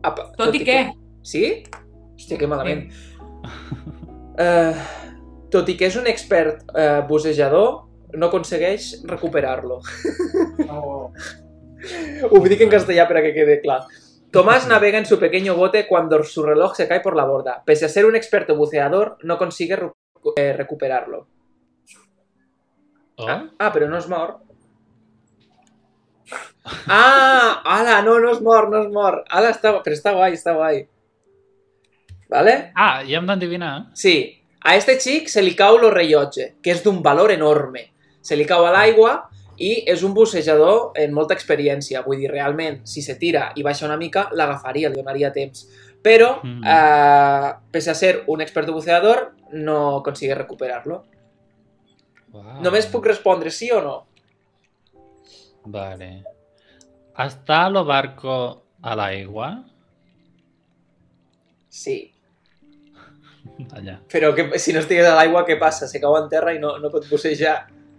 Speaker 4: A, pa-
Speaker 3: Tot i eh, què?
Speaker 4: Sí? Hòstia, que malament. Eh, tot i que és un expert eh, bussejador, no aconsegueix recuperar-lo. Ho dic en castellà per a que quede clar. Tomás navega en su pequeño bote cuando su reloj se cae por la borda. Pese a ser un experto buceador, no consigue recu- eh, recuperarlo.
Speaker 1: Oh?
Speaker 4: Ah, ah, però no es mor. Ah, ala, no, no es mor, no es mor. Ala, està, però està guai, està guai. Vale?
Speaker 1: Ah, ja hem d'endevinar.
Speaker 4: Sí. A este xic se li cau lo rellotge, que és d'un valor enorme. Se li cau a l'aigua i és un bussejador amb molta experiència. Vull dir, realment, si se tira i baixa una mica, l'agafaria, li donaria temps. Però,
Speaker 1: Mm.
Speaker 4: eh, pese a ser un experto buceador, no consigue recuperar-lo.
Speaker 1: Wow.
Speaker 4: Només puc respondre sí o no.
Speaker 1: Vale. Està lo barco a l'aigua?
Speaker 4: Sí.
Speaker 1: Allà.
Speaker 4: Però que, si no estigués a l'aigua, què passa? Se cau en terra i no, no pot bussejar.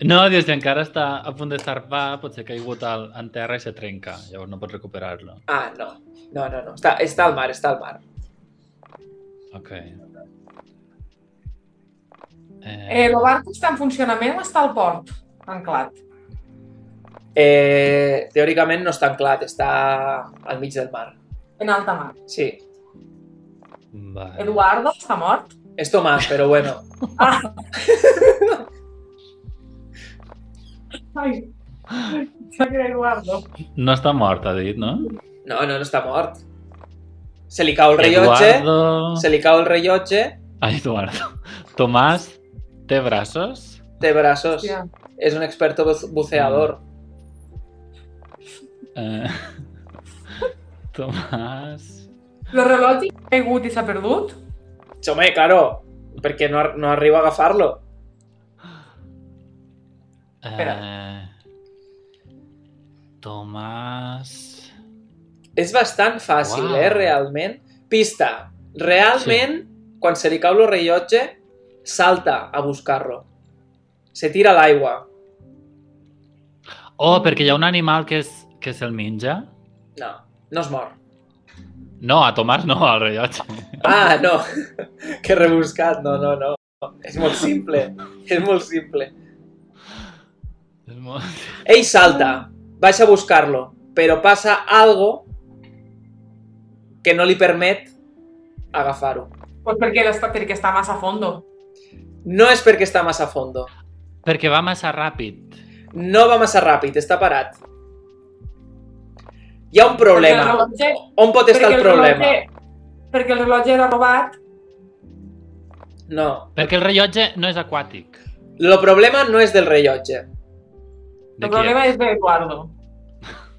Speaker 1: No, dius, si encara està a punt de zarpar, potser ha caigut al, en terra i se trenca. Llavors no pots recuperar-lo.
Speaker 4: Ah, no. No, no, no. Està, està al mar, està al mar.
Speaker 1: Ok. Eh,
Speaker 3: Eh, el barco està en funcionament o està al port? Anclat.
Speaker 4: Eh, teòricament no està anclat, està al mig del mar.
Speaker 3: En alta mar.
Speaker 4: Sí.
Speaker 1: Vale. Ah.
Speaker 3: Eduardo està mort?
Speaker 4: És Tomàs, però bueno.
Speaker 3: Ai, sóc Eduardo.
Speaker 1: No està mort, ha dit, no?
Speaker 4: No, no, no està mort. Se li cau el rellotge,
Speaker 1: Eduardo...
Speaker 4: se li cau el rellotge,
Speaker 1: Ai, Eduardo. Tomàs té braços?
Speaker 4: té braços.
Speaker 3: Hòstia.
Speaker 4: És un experto bu- buceador.
Speaker 1: Eh... Tomàs...
Speaker 3: El rellotge ha caigut i s'ha perdut?
Speaker 4: Sí, home, claro, perquè no, ar- no arriba a agafar-lo.
Speaker 1: Eh... Tomàs...
Speaker 4: És bastant fàcil,
Speaker 1: Uau.
Speaker 4: eh, realment. Pista. Realment, quan se li cau el rellotge, salta a buscar-lo. Se tira a l'aigua.
Speaker 1: Oh, perquè hi ha un animal que, és, que se'l menja?
Speaker 4: No, no es mor.
Speaker 1: No, a Tomàs no, al rellotge.
Speaker 4: Ah, no. que rebuscat. No, no, no. És molt simple. És molt simple.
Speaker 1: És molt...
Speaker 4: Ell salta, baixa a buscar-lo, però passa algo que no li permet agafar-ho.
Speaker 3: Pues perquè, està, perquè està massa a fondo.
Speaker 4: No és perquè està massa a fondo.
Speaker 1: Perquè va massa ràpid.
Speaker 4: No va massa ràpid, està parat. Hi ha un
Speaker 3: Perquè el
Speaker 4: problema.
Speaker 3: rellotge,
Speaker 4: On pot estar el problema?
Speaker 3: Rellotge, perquè el rellotge era robat.
Speaker 4: No.
Speaker 1: Perquè el rellotge no és aquàtic.
Speaker 4: El problema no és del rellotge.
Speaker 3: El
Speaker 1: De eh? qui
Speaker 3: problema
Speaker 1: és?
Speaker 3: és d'Eduardo.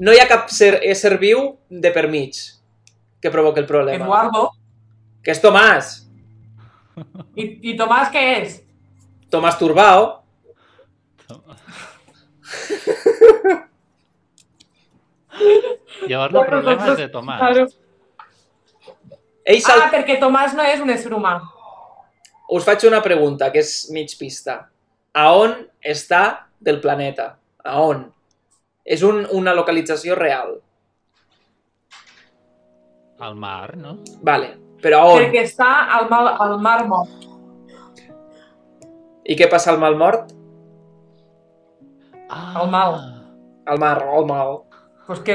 Speaker 4: No hi ha cap ser, ésser viu de per mig que provoca el problema.
Speaker 3: Eduardo.
Speaker 4: Que és Tomàs.
Speaker 3: I, I Tomàs què és?
Speaker 4: Tomàs Turbao.
Speaker 1: Llavors el problema és de Tomàs.
Speaker 3: Claro.
Speaker 4: Ell salt...
Speaker 3: Ah, perquè Tomàs no és un ésser humà.
Speaker 4: Us faig una pregunta, que és mig pista. A on està del planeta? A on? És un, una localització real.
Speaker 1: Al mar, no?
Speaker 4: Vale, però a on?
Speaker 3: Perquè està al, mal, al mar mort.
Speaker 4: I què passa al mal mort?
Speaker 1: Ah,
Speaker 3: Al mal.
Speaker 4: Al mar, al mal.
Speaker 3: Pues que,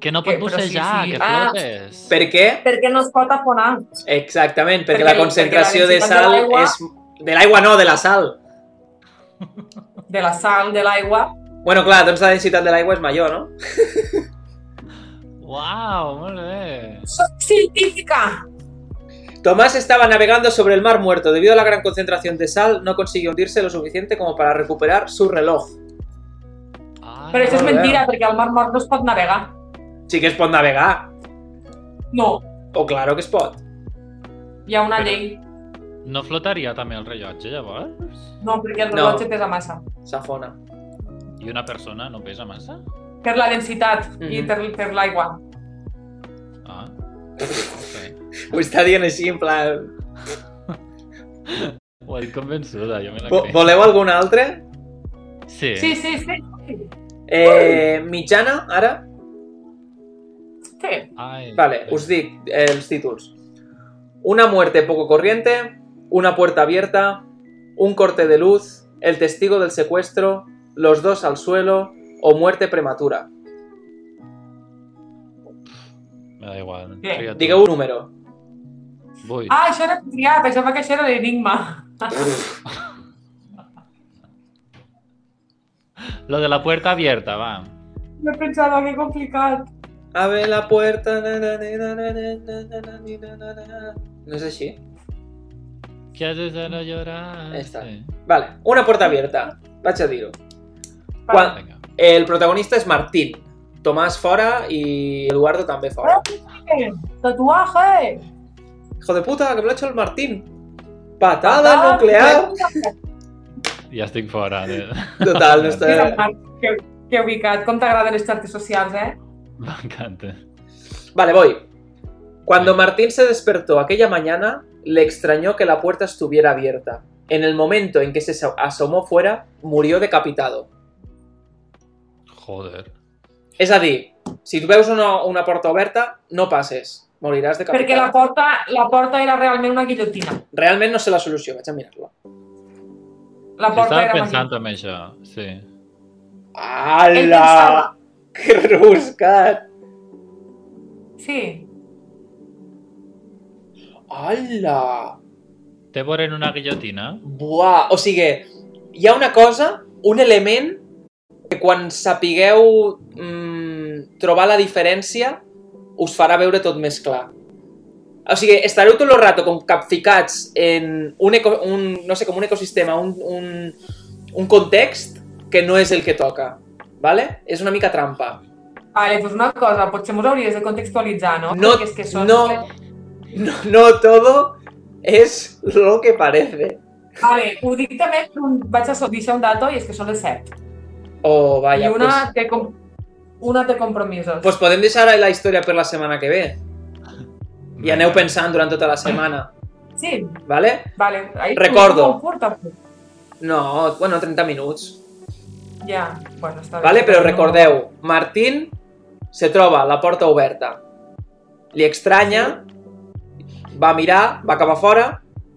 Speaker 1: Que no
Speaker 3: Que-
Speaker 1: pot
Speaker 3: però sí,
Speaker 1: bussejar,
Speaker 3: sí.
Speaker 1: que
Speaker 3: Ah.
Speaker 1: flotes.
Speaker 4: Per què?
Speaker 3: perquè no es pot afonar.
Speaker 4: Exactament, perquè,
Speaker 3: Perquè-
Speaker 4: la
Speaker 3: perquè
Speaker 4: concentració
Speaker 3: la
Speaker 4: de
Speaker 3: densitat
Speaker 4: sal
Speaker 3: de l'aigua-
Speaker 4: és... De l'aigua no, de la sal.
Speaker 3: De la sal, de l'aigua.
Speaker 4: Bueno, clar, doncs la densitat de l'aigua és major, no?
Speaker 1: Uau, molt bé.
Speaker 3: Soc científica!
Speaker 4: Tomás estaba navegando sobre el mar muerto. Debido a la gran concentración de sal, no consiguió hundirse lo suficiente como para recuperar su reloj.
Speaker 1: Ai,
Speaker 3: Però això és
Speaker 4: Ah,
Speaker 3: mentira, perquè al mar mort no es pot navegar.
Speaker 4: Sí que es pot navegar.
Speaker 3: No,
Speaker 4: O claro que es pot.
Speaker 3: hi ha una
Speaker 1: Però-
Speaker 3: llei.
Speaker 1: No flotaria també el rellotge, llavors?
Speaker 3: No, perquè el
Speaker 4: No.
Speaker 3: rellotge pesa massa.
Speaker 4: Safona.
Speaker 1: I una persona no pesa massa?
Speaker 3: Per la densitat i
Speaker 4: Mhm.
Speaker 3: per, per l'aigua.
Speaker 1: Ah. Ok.
Speaker 4: Ho està dient així, en plan...
Speaker 1: Ho he dit convençuda, jo me la
Speaker 4: Vo-
Speaker 1: crec.
Speaker 4: Voleu algun altre?
Speaker 1: Sí.
Speaker 3: Sí, sí, sí.
Speaker 4: Eh, mitjana, ara?
Speaker 3: Sí.
Speaker 1: Ai,
Speaker 4: Vale,
Speaker 1: bé.
Speaker 4: us dic eh, els títols. Una muerte poco corriente, una puerta abierta, un corte de luz, el testigo del secuestro, los dos al suelo o muerte prematura.
Speaker 1: Me da igual.
Speaker 3: Bé,
Speaker 1: Tria tu.
Speaker 4: Digueu un número.
Speaker 1: Vuit.
Speaker 3: Ah, això era triat, pensava que això era l'enigma.
Speaker 1: Lo de la puerta abierta, va.
Speaker 3: No pensava que complicat.
Speaker 4: Abre la puerta... na, na, na, na, na, na, na, na, na, na, na, na. No és així?
Speaker 1: ¿Qué haces de no llorar?
Speaker 4: Esta.
Speaker 1: Sí.
Speaker 4: Vale, una puerta abierta. Vaig a dir-ho.
Speaker 3: Vale.
Speaker 1: Vinga.
Speaker 4: El protagonista és Martín. Tomàs fora i Eduardo també fora.
Speaker 3: Ah. Tatuaje!
Speaker 4: Hijo de puta, que me lo ha hecho el Martín. Patada Ah, nuclear.
Speaker 1: Ja estic fora. De...
Speaker 4: Total, no
Speaker 3: Mira,
Speaker 4: està...
Speaker 3: Marc, que, que ubicat. Com t'agraden les xarxes socials, eh?
Speaker 1: M'encanta.
Speaker 4: Vale, voy. Cuando Martín se despertó aquella mañana, le extrañó que la puerta estuviera abierta. En el momento en que se so- asomó fuera, murió decapitado.
Speaker 1: Joder.
Speaker 4: És a dir, si tu veus una, una porta oberta, no passes. Moriràs decapitat.
Speaker 3: Perquè la porta, la porta era realment una guillotina.
Speaker 4: Realment no sé la solució, vaig a mirar-la.
Speaker 3: La porta
Speaker 1: Estava
Speaker 3: era una
Speaker 1: pensant en això, sí.
Speaker 3: Ell
Speaker 4: Ala!
Speaker 3: pensava.
Speaker 4: Que rebuscat!
Speaker 3: guillotina. Sí.
Speaker 4: Ala!
Speaker 1: Té vora en una guillotina?
Speaker 4: Buah, o sigui, hi ha una cosa, un element, que quan sapigueu mm, trobar la diferència, us farà veure tot més clar. O sigui, estareu tot el rato com capficats en un, eco, un no sé, com un ecosistema, un, un, un context que no és el que toca, ¿vale? És una mica trampa.
Speaker 3: Vale, doncs una cosa, potser mos hauries de contextualitzar, no?
Speaker 4: No,
Speaker 3: Perquè és que són...
Speaker 4: no. No, no todo es lo que parece.
Speaker 3: Vale, ho dic també, vaig a so- deixar un dato i és que són les 7.
Speaker 4: Oh,
Speaker 3: I
Speaker 4: vaya,
Speaker 3: una
Speaker 4: pues,
Speaker 3: té, com... una té compromisos.
Speaker 4: pues podem deixar la història per la setmana que ve. I aneu pensant durant tota la setmana,
Speaker 3: Sí,
Speaker 4: ¿vale?
Speaker 3: vale. Ahí
Speaker 4: Recordo.
Speaker 3: Molt curta, però-
Speaker 4: No, bueno, 30 minuts.
Speaker 3: Ja, bueno, està bé.
Speaker 4: Vale? Però recordeu, Martín se troba la porta oberta. Li estranya, va mirar, va cap a fora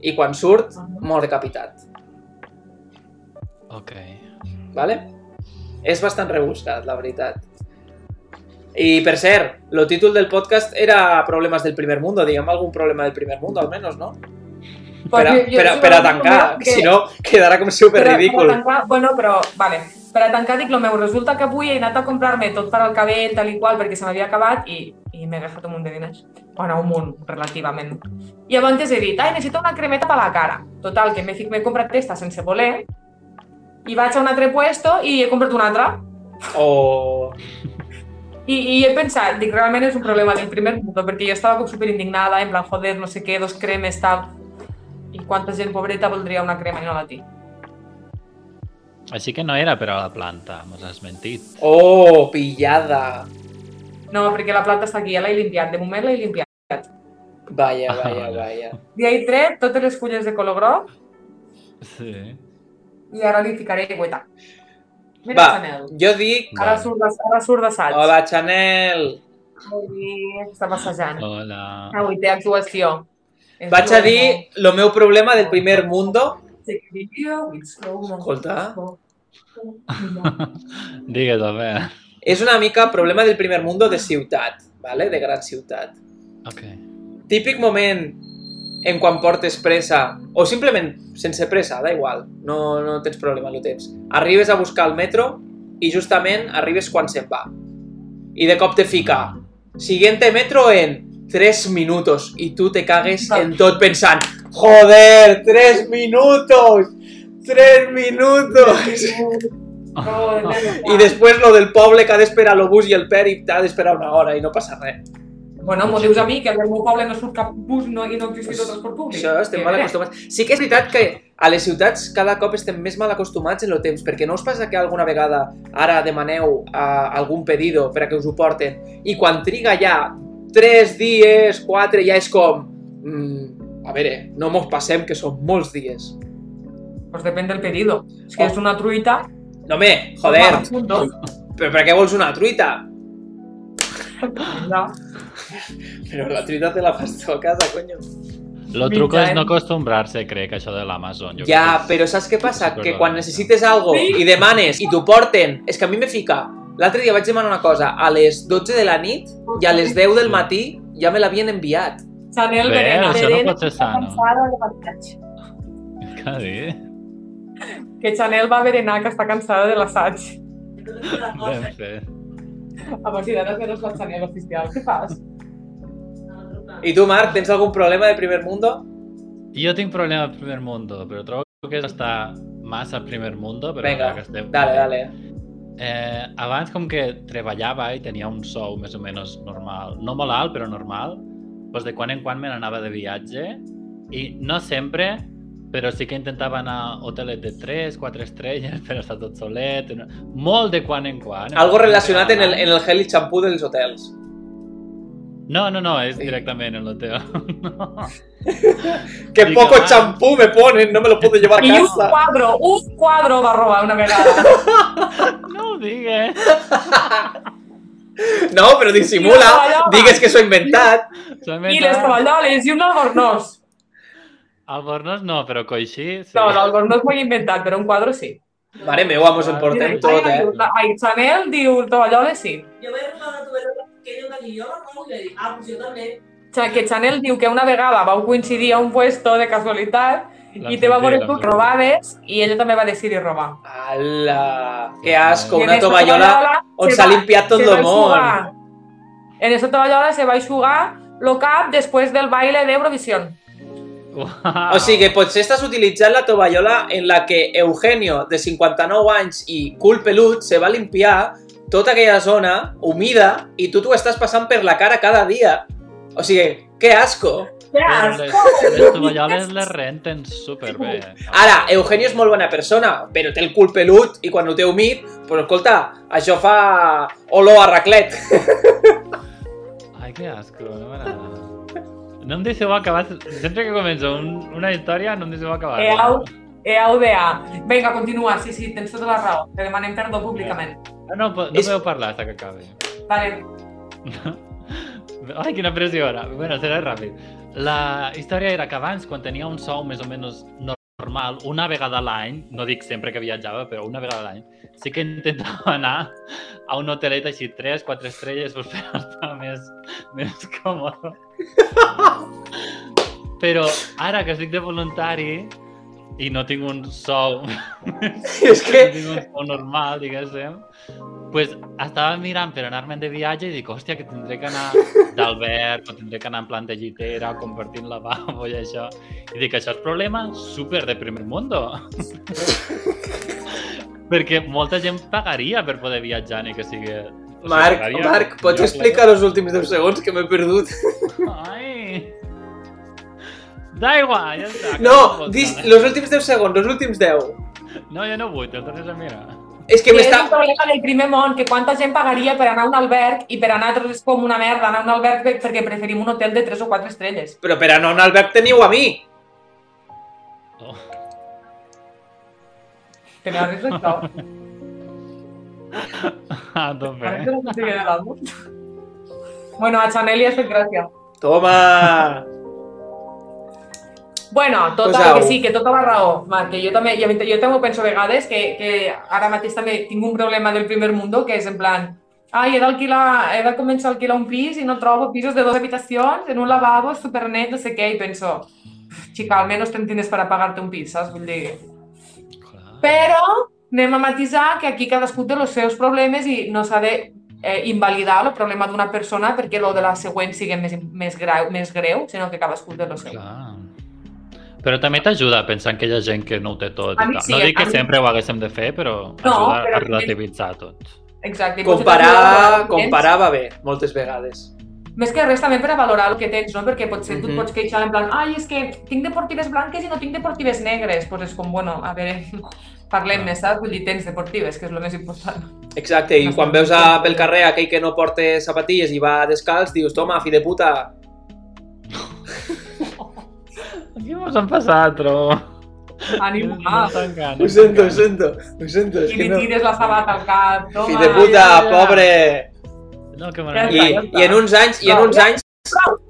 Speaker 4: i quan surt mor decapitat.
Speaker 1: Ok.
Speaker 4: Vale? És bastant rebuscat, la veritat. I per cert, el títol del podcast era Problemes del primer mundo, diguem algun problema del primer mundo, almenys, no? Per a,
Speaker 3: Pues jo-
Speaker 4: per a,
Speaker 3: jo-
Speaker 4: per a
Speaker 3: jo-
Speaker 4: tancar,
Speaker 3: que-
Speaker 4: que si no quedarà com super
Speaker 3: per a- Per a
Speaker 4: ridícul.
Speaker 3: tancar, bueno, però, vale. Per a tancar dic el meu, resulta que avui he anat a comprar-me tot per al cabell, tal i qual, perquè se m'havia acabat i, i m'he gastat un munt de diners. Bueno, un munt, relativament. I abans he dit, ai, necessito una cremeta per la cara. Total, que m'he fi- m'he comprat aquesta sense voler i vaig a un altre puesto i he comprat una altra.
Speaker 4: O...
Speaker 3: I, I he pensat, dic, realment és un problema del primer mundo, perquè jo estava com super indignada, en plan, joder, no sé què, dos cremes, tal. I quanta gent pobreta voldria una crema i no la tinc.
Speaker 1: Així que no era per a la planta, mos has mentit.
Speaker 4: Oh, pillada.
Speaker 3: No, perquè la planta està aquí, ja l'he limpiat. De moment l'he limpiat.
Speaker 4: Vaya, vaya,
Speaker 1: Ah, vale.
Speaker 4: vaya.
Speaker 3: Li he tret totes les fulles de color groc
Speaker 1: Sí.
Speaker 3: i ara li ficaré gueta. Mira,
Speaker 4: Va.
Speaker 3: Va. Chanel.
Speaker 4: Jo dic...
Speaker 3: Ara surt, de, ara surt d'assaig.
Speaker 4: Hola, Chanel!
Speaker 3: Molt bé, Està passejant.
Speaker 1: Hola.
Speaker 3: Avui té actuació. És
Speaker 4: Vaig a dir el meu problema del primer mundo.
Speaker 3: Escolta.
Speaker 4: Escolta,
Speaker 1: Digues, a veure.
Speaker 4: és una mica problema del primer mundo de ciutat, vale? de gran ciutat.
Speaker 1: Ok.
Speaker 4: Típic moment en quan portes pressa, o simplement sense pressa, da igual, no, no tens problema, no tens. Arribes a buscar el metro i justament arribes quan se'n va. I de cop te fica, siguiente metro en 3 minutos, i tu te cagues en tot pensant, joder, 3 minutos, 3 minutos. I després lo del poble que ha d'esperar el bus i el pèrit ha d'esperar una hora i no passa res.
Speaker 3: Bueno, m'ho dius a mi, que al meu poble no surt cap bus no, i no existeix el transport públic.
Speaker 4: Pues Això estem mal acostumats. Sí que és veritat que a les ciutats cada cop estem més mal acostumats en el temps, perquè no us passa que alguna vegada ara demaneu a algun pedido per a que us ho porten i quan triga ja 3 dies, 4, ja és com... Mm, a veure, no mos passem, que són molts dies.
Speaker 3: Pues depèn del pedido. És que és una truita.
Speaker 4: No, home, Oh. joder,
Speaker 3: Un dos.
Speaker 4: però per què vols una truita?
Speaker 3: No.
Speaker 4: Però la truita te la fas tu a casa, coño.
Speaker 1: Lo truco
Speaker 3: Mitja,
Speaker 1: és
Speaker 3: eh?
Speaker 1: no acostumbrar-se, crec, a això de l'Amazon. Jo
Speaker 4: Ja,
Speaker 1: crec
Speaker 4: però saps què passa?
Speaker 1: Perdona,
Speaker 4: Que quan
Speaker 1: ja.
Speaker 4: necessites algo
Speaker 3: Sí.
Speaker 4: i demanes i t'ho porten... És que a mi me fica... L'altre dia vaig demanar una cosa a les 12 de la nit i a les 10 del matí ja me l'havien enviat.
Speaker 3: Chanel,
Speaker 1: Bé,
Speaker 3: Verena.
Speaker 1: això no pot ser
Speaker 4: Em
Speaker 1: sano.
Speaker 3: cansada de l'assaig.
Speaker 1: que... Què dir?
Speaker 3: Que Chanel va a berenar, que està cansada de l'assaig.
Speaker 1: Ben fet.
Speaker 3: A partir d'ara seràs la Chanel oficial. Què fas?
Speaker 4: I tu, Marc, tens algun problema de primer mundo?
Speaker 1: Jo tinc problema al primer mundo, però trobo que està massa al primer mundo, però
Speaker 4: Vinga,
Speaker 1: ja que estem...
Speaker 4: Dale, dale.
Speaker 1: Eh, abans, com que treballava i tenia un sou més o menys normal, no molt alt, però normal, doncs de quan en quan me n'anava de viatge i no sempre, però sí que intentava anar a hotelet de 3, 4 estrelles per estar tot solet, no- molt de quan en quan.
Speaker 4: Algo relacionat en el, en el gel i xampú dels hotels.
Speaker 1: No, no, no, és
Speaker 4: Sí.
Speaker 1: directament en l'hotel. No.
Speaker 4: Que
Speaker 1: Vinga,
Speaker 4: poco
Speaker 1: va.
Speaker 4: champú me ponen, no me lo puedo llevar a
Speaker 3: I un
Speaker 4: casa.
Speaker 3: quadro, un quadro va robar una vegada.
Speaker 1: no ho digues.
Speaker 4: No, però dissimula,
Speaker 3: tovallola.
Speaker 4: digues que s'ho ha inventat.
Speaker 3: I les tovalloles i un albornoz.
Speaker 1: Albornoz no, però coixí sí.
Speaker 3: No, l'albornoz m'ho he inventat, però un quadro sí.
Speaker 4: Mare meu, amo, ens en portem
Speaker 3: Ai,
Speaker 4: tot, eh?
Speaker 3: diu, la- Ai, Chanel diu tovalloles sí.
Speaker 2: Yo voy a robar una tubera que tiene una guillola, ¿no? Y le digo, ah, pues yo también.
Speaker 3: que Chanel diu que una vegada vau coincidir a un puesto de casualitat i te va
Speaker 1: veure
Speaker 3: veure tu que robaves i ella també va decidir robar.
Speaker 4: Ala, que
Speaker 1: Con
Speaker 4: asco,
Speaker 3: I en
Speaker 4: una
Speaker 3: esa
Speaker 4: tovallola
Speaker 3: tovallola
Speaker 4: on
Speaker 3: se
Speaker 4: s'ha
Speaker 3: va-
Speaker 4: limpiat tot
Speaker 3: se va
Speaker 4: el món.
Speaker 3: enxugar. En esa tovallola se va aixugar el cap després del baile d'Eurovisió.
Speaker 1: Ah.
Speaker 4: O sigui que potser estàs utilitzant la tovallola en la que Eugenio, de 59 anys i cul pelut, se va limpiar tota aquella zona humida i tu t'ho estàs passant per la cara cada dia. O sigui, que asco.
Speaker 3: Que
Speaker 1: Però
Speaker 3: asco!
Speaker 1: les, les tovalloles les renten superbé.
Speaker 3: Ah,
Speaker 4: Ara, Eugenio és molt bona persona, però té el cul pelut i quan ho té humit, però escolta, això fa olor a raclet.
Speaker 1: Ai, que asco, no m'agrada. No em deixeu acabar... Sempre que comença un, una història no em deixeu acabar.
Speaker 3: Eh, au. EAUDA. Vinga, continua. Sí, sí, tens tota la raó. Te demanem perdó públicament.
Speaker 1: Ah, No, no, po- no
Speaker 4: És-
Speaker 1: podeu parlar hasta que acabi.
Speaker 3: Vale.
Speaker 1: Ai, quina pressió ara. Bueno, serà ràpid. La història era que abans, quan tenia un sou més o menys normal, una vegada a l'any, no dic sempre que viatjava, però una vegada a l'any, sí que intentava anar a un hotelet així, 3, 4 estrelles, pues, per estar més, més còmode. Però ara que estic de voluntari i no tinc un sou
Speaker 4: És que...
Speaker 1: que... o normal, diguéssim, pues estava mirant per anar-me'n de viatge i dic, hòstia, que tindré que anar d'alberg o tindré que anar en plan de llitera, compartint lavabo i això. I dic, això és problema super de primer mundo. Perquè molta gent pagaria per poder viatjar, ni que sigui... o sigui,
Speaker 4: Marc,
Speaker 1: pagaria.
Speaker 4: Marc, pots
Speaker 1: Jo,
Speaker 4: explicar els últims 10 segons que m'he perdut?
Speaker 1: Ai! D'aigua, ja està.
Speaker 4: No, dis,
Speaker 1: dis...
Speaker 4: els últims 10 segons, els últims 10.
Speaker 1: eh? No, jo no vull, te'l tornes a mirar.
Speaker 4: És que
Speaker 3: Que és
Speaker 4: m'està...
Speaker 3: un problema del primer món, que quanta gent pagaria per anar a un alberg i per a nosaltres és com una merda anar a un alberg pe- perquè preferim un hotel de 3 o 4 estrelles.
Speaker 4: Però per anar a un alberg teniu a mi.
Speaker 1: Oh.
Speaker 3: Que no arribes a això.
Speaker 1: A tope. eh?
Speaker 3: Ara que no sé què era l'àlbum. Bueno, a Chanel li has fet gràcia.
Speaker 4: Toma!
Speaker 3: Bueno, tota,
Speaker 4: Posau.
Speaker 3: que sí, que tota la raó, Marc, que jo també, jo, jo també ho penso a vegades, que, que ara mateix també tinc un problema del primer mundo, que és en plan, ai, he d'alquilar, he de començar a alquilar un pis i no trobo pisos de dues habitacions, en un lavabo, supernet, no sé què, i penso, xica, almenys tens diners per a pagar-te un pis, saps? Vull dir,
Speaker 1: Clar.
Speaker 3: però anem a matisar que aquí cadascú té els seus problemes i no s'ha de eh, invalidar el problema d'una persona perquè el de la següent sigui més, més, greu, més greu, sinó que cadascú té el seu.
Speaker 1: Clar. Però també t'ajuda a pensar en aquella gent que no ho té tot.
Speaker 3: A
Speaker 1: I
Speaker 3: mi
Speaker 1: tal.
Speaker 3: sí,
Speaker 1: no dic que
Speaker 3: a mi-
Speaker 1: sempre ho haguéssim de fer, però
Speaker 3: No,
Speaker 1: ajuda
Speaker 3: però
Speaker 1: a
Speaker 3: també-
Speaker 1: relativitzar tot.
Speaker 3: Exacte. i potser t'ajuda
Speaker 4: Comparar,
Speaker 3: a valorar el que tens.
Speaker 4: comparar va bé, moltes vegades.
Speaker 3: Més que res també per a valorar el que tens, no? Perquè potser tu et
Speaker 4: Mhm.
Speaker 3: pots queixar en plan ai, és que tinc deportives blanques i no tinc deportives negres. Doncs és com, bueno, a veure, parlem més, saps? Vull dir, tens deportives, que és el més important.
Speaker 4: Exacte, i quan veus a, pel carrer aquell que no porta zapatilles i va descalç, dius, toma, fi de puta,
Speaker 1: Què mos han passat, trobo?
Speaker 3: Ànim, ah,
Speaker 4: Ho sento, ho sento, ho sento, és
Speaker 3: i
Speaker 4: que
Speaker 3: li
Speaker 4: no.
Speaker 3: tires la sabata al cap, toma...
Speaker 4: Fill de
Speaker 1: ja,
Speaker 4: puta,
Speaker 1: ja.
Speaker 4: pobre!
Speaker 1: No, que
Speaker 4: I,
Speaker 1: m'agrada.
Speaker 4: I en uns anys, i en uns anys...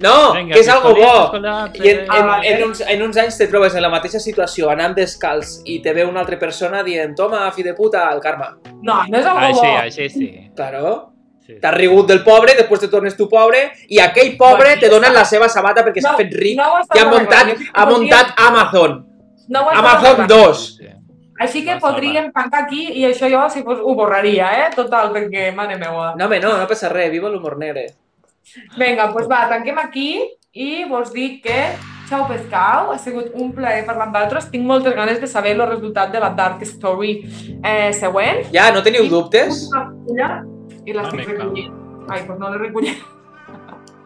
Speaker 4: No, que és algo bo! I
Speaker 1: eh,
Speaker 4: en, en,
Speaker 1: ah,
Speaker 4: en, uns, en uns anys te trobes en la mateixa situació, anant descalç, i te ve una altra persona dient «Toma, fi de puta, el karma».
Speaker 3: No, no és algo
Speaker 1: Així,
Speaker 3: bo.
Speaker 1: així sí.
Speaker 4: Claro.
Speaker 1: sí.
Speaker 4: T'has rigut del pobre, després te tornes tu pobre, i aquell pobre
Speaker 3: Bueno,
Speaker 4: te
Speaker 3: ja
Speaker 4: donen
Speaker 3: està.
Speaker 4: la seva sabata perquè s'ha fet ric.
Speaker 3: ho estàs
Speaker 4: I ha muntat,
Speaker 3: arreglant.
Speaker 4: ha muntat Amazon.
Speaker 3: No ho estàs
Speaker 4: Amazon
Speaker 3: arreglant.
Speaker 4: 2.
Speaker 1: Sí.
Speaker 3: Així que
Speaker 1: No,
Speaker 3: podríem tancar aquí i això jo si fos, ho borraria, eh? Total, perquè, mare meua.
Speaker 4: No, home, no, no passa res, viva l'humor negre.
Speaker 3: Vinga, doncs va, tanquem aquí i vos dic que Ciao Pescau, ha sigut un plaer parlar amb vosaltres. Tinc moltes ganes de saber el resultat de la Dark Story eh, següent.
Speaker 4: Ja, no teniu dubtes?
Speaker 3: Una fulla I l'estic
Speaker 1: Una mica.
Speaker 3: recollint. Ai, doncs no l'he recollit.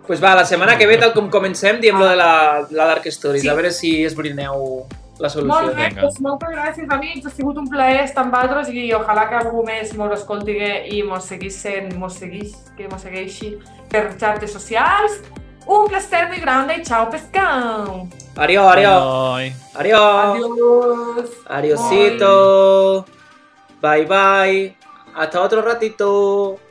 Speaker 4: pues va, la setmana que ve, tal com comencem, diem lo de la, la Dark Stories,
Speaker 3: Sí.
Speaker 4: a veure si esbrineu la
Speaker 3: Molt
Speaker 4: solució.
Speaker 3: bé,
Speaker 1: vinga.
Speaker 3: doncs moltes gràcies, amics. Ha sigut un plaer estar amb vosaltres i ojalà que algú més mos escolti i mos seguís sent, mos seguís, que mos segueixi per xarxes socials. Un plaer molt gran i ciao Pescau!
Speaker 4: Adiós, adiós,
Speaker 1: Adéu.
Speaker 4: adiós.
Speaker 3: Adiós!
Speaker 4: Adiosito. Bye, bye. Hasta otro ratito.